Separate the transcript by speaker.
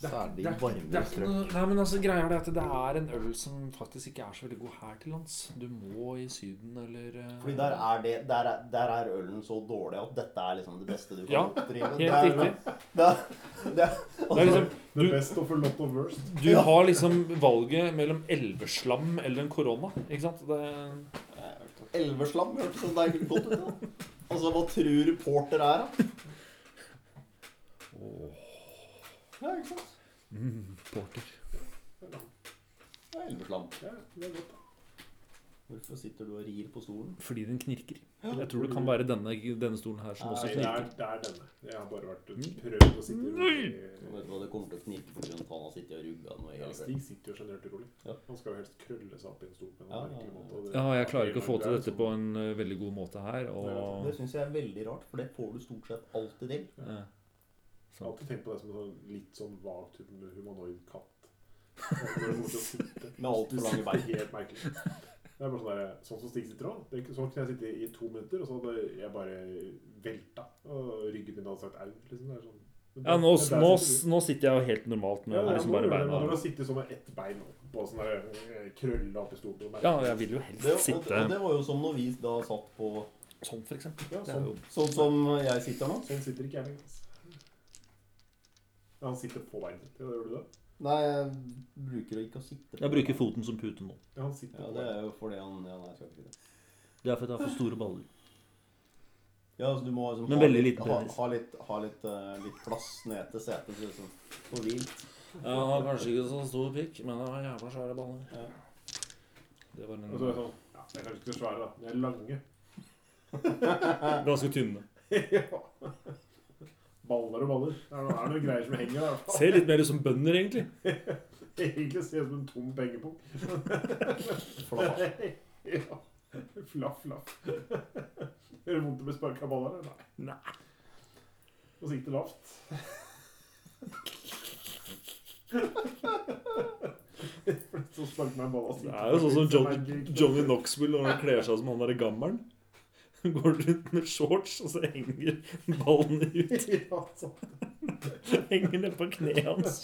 Speaker 1: så er det
Speaker 2: det
Speaker 1: i
Speaker 2: er ikke- det
Speaker 1: varmere
Speaker 2: er ikke
Speaker 1: strøk.
Speaker 2: noe- Nei, men altså greia er det at det er en øl som faktisk ikke er så veldig god her til lands. Du må i Syden eller eh,
Speaker 3: Fordi der er, det, der, er, der er ølen så dårlig at dette er liksom det beste du kan
Speaker 2: Ja,
Speaker 3: oppdrive. Det er-
Speaker 2: Helt riktig.
Speaker 3: Det er, det er,
Speaker 2: Det er liksom,
Speaker 4: The
Speaker 2: du,
Speaker 4: best of a lot of worst.
Speaker 2: du har liksom valget mellom elveslam eller en korona, ikke sant? Det,
Speaker 3: Elveslam hørtes sånn der godt ut. da. Altså, hva tror du porter er, da? Ja, ikke sant? Det er elveslam.
Speaker 4: Ja, det er godt.
Speaker 3: Hvorfor sitter du og rir på stolen?
Speaker 2: fordi den knirker. Jeg tror det kan være denne, denne stolen her som
Speaker 4: Nei,
Speaker 2: også
Speaker 4: det
Speaker 2: knirker.
Speaker 4: er, det er denne. Jeg har bare vært
Speaker 3: Mm.
Speaker 4: prøvd å sitte
Speaker 3: Og
Speaker 4: rolig.
Speaker 3: Vet du hva, det kommer til å knirke på grunn av at han har sittet og rugga nå i
Speaker 4: Ja,
Speaker 3: hele kveld.
Speaker 4: Stig sitter jo generelt rolig.
Speaker 3: Ja.
Speaker 4: Han skal jo helst krølle seg opp i en stol på en
Speaker 3: Ja, ja,
Speaker 4: merkelig
Speaker 3: ja.
Speaker 4: måte. og det-
Speaker 2: Ja, jeg klarer ikke å få
Speaker 4: det er
Speaker 2: til dette
Speaker 4: sånn-
Speaker 2: på en eh, veldig god måte her.
Speaker 3: Det
Speaker 2: Og
Speaker 3: syns jeg er veldig rart, for det får du stort sett alltid til.
Speaker 2: eh,
Speaker 4: Jeg har alltid tenkt på deg som en sånn litt sånn vag type humanoid katt. Når du kommer til å sitte.
Speaker 3: Med alt for lange
Speaker 4: Det er
Speaker 3: bein.
Speaker 4: helt merkelig. Det er bare sånn, der, sånn som Stig sitter nå. Det er ikke- Sånn kunne jeg sitte i to minutter, og så hadde jeg bare velta. Og ryggen min hadde sagt au. Liksom. Det er sånn.
Speaker 2: ja,
Speaker 4: Men der-
Speaker 2: nå,
Speaker 4: men der
Speaker 2: nå,
Speaker 4: sitter du.
Speaker 2: nå sitter jeg jo helt normalt
Speaker 4: Ja,
Speaker 2: med
Speaker 4: ja,
Speaker 2: liksom
Speaker 4: nå
Speaker 2: bare
Speaker 4: gjør det, men Når
Speaker 2: beina
Speaker 4: du sitter sånn med ett bein oppå, sånn der, eh, krølla opp i stolen og merker-
Speaker 2: Ja, jeg vil jo
Speaker 3: Det,
Speaker 2: helst
Speaker 3: og, og
Speaker 2: sitte
Speaker 3: det var jo som når vi da satt på
Speaker 2: sånn, for eksempel.
Speaker 4: Ja,
Speaker 2: Det er
Speaker 4: sånn,
Speaker 2: jo
Speaker 3: Sånn som jeg sitter nå.
Speaker 4: sånn sitter ikke jeg lenger. altså. Ja, han sitter på beinet ditt. Ja, gjør du det?
Speaker 3: Nei, jeg bruker ikke å sitte på
Speaker 5: Jeg bruker foten som pute nå.
Speaker 4: Ja, han sitter
Speaker 3: Ja,
Speaker 4: på
Speaker 3: det
Speaker 4: beinet.
Speaker 3: er jo fordi han Ja, nei, jeg skal ikke si det.
Speaker 5: Det er fordi jeg har for store baller.
Speaker 3: Ja, altså du må liksom
Speaker 5: Men
Speaker 3: ha,
Speaker 5: veldig
Speaker 3: litt,
Speaker 5: liten
Speaker 3: ha,
Speaker 5: penis.
Speaker 3: ha, litt, ha litt, eh, litt plass ned til setet, så liksom på vilt.
Speaker 2: Jeg har kanskje ikke så stor pikk, men jeg har jævla svære baller.
Speaker 3: Ja.
Speaker 2: Det var
Speaker 4: Og så er det
Speaker 2: en
Speaker 4: sånn Ja, de er kanskje ikke så svære, da. De er lange.
Speaker 2: Ganske tynne.
Speaker 4: Ja. Baller og baller. Det er noe, er noe greier som henger der. i hvert fall.
Speaker 2: Ser litt mer ut som bønder, egentlig.
Speaker 4: Egentlig ser det ut som en tom pengepung.
Speaker 3: Flatt.
Speaker 4: Ja. Flaff, flaff. Gjør det vondt å bli sparka av baller? Nei. Nei. Og så gikk det lavt. Så sparket meg en ball.
Speaker 2: Det er jo sånn som Johnny, Johnny Knoxville når han kler seg som han derre gammelen. Går rundt med shorts, og så henger ballene ut.
Speaker 4: Ja, sånn.
Speaker 2: Henger ned på kneet hans.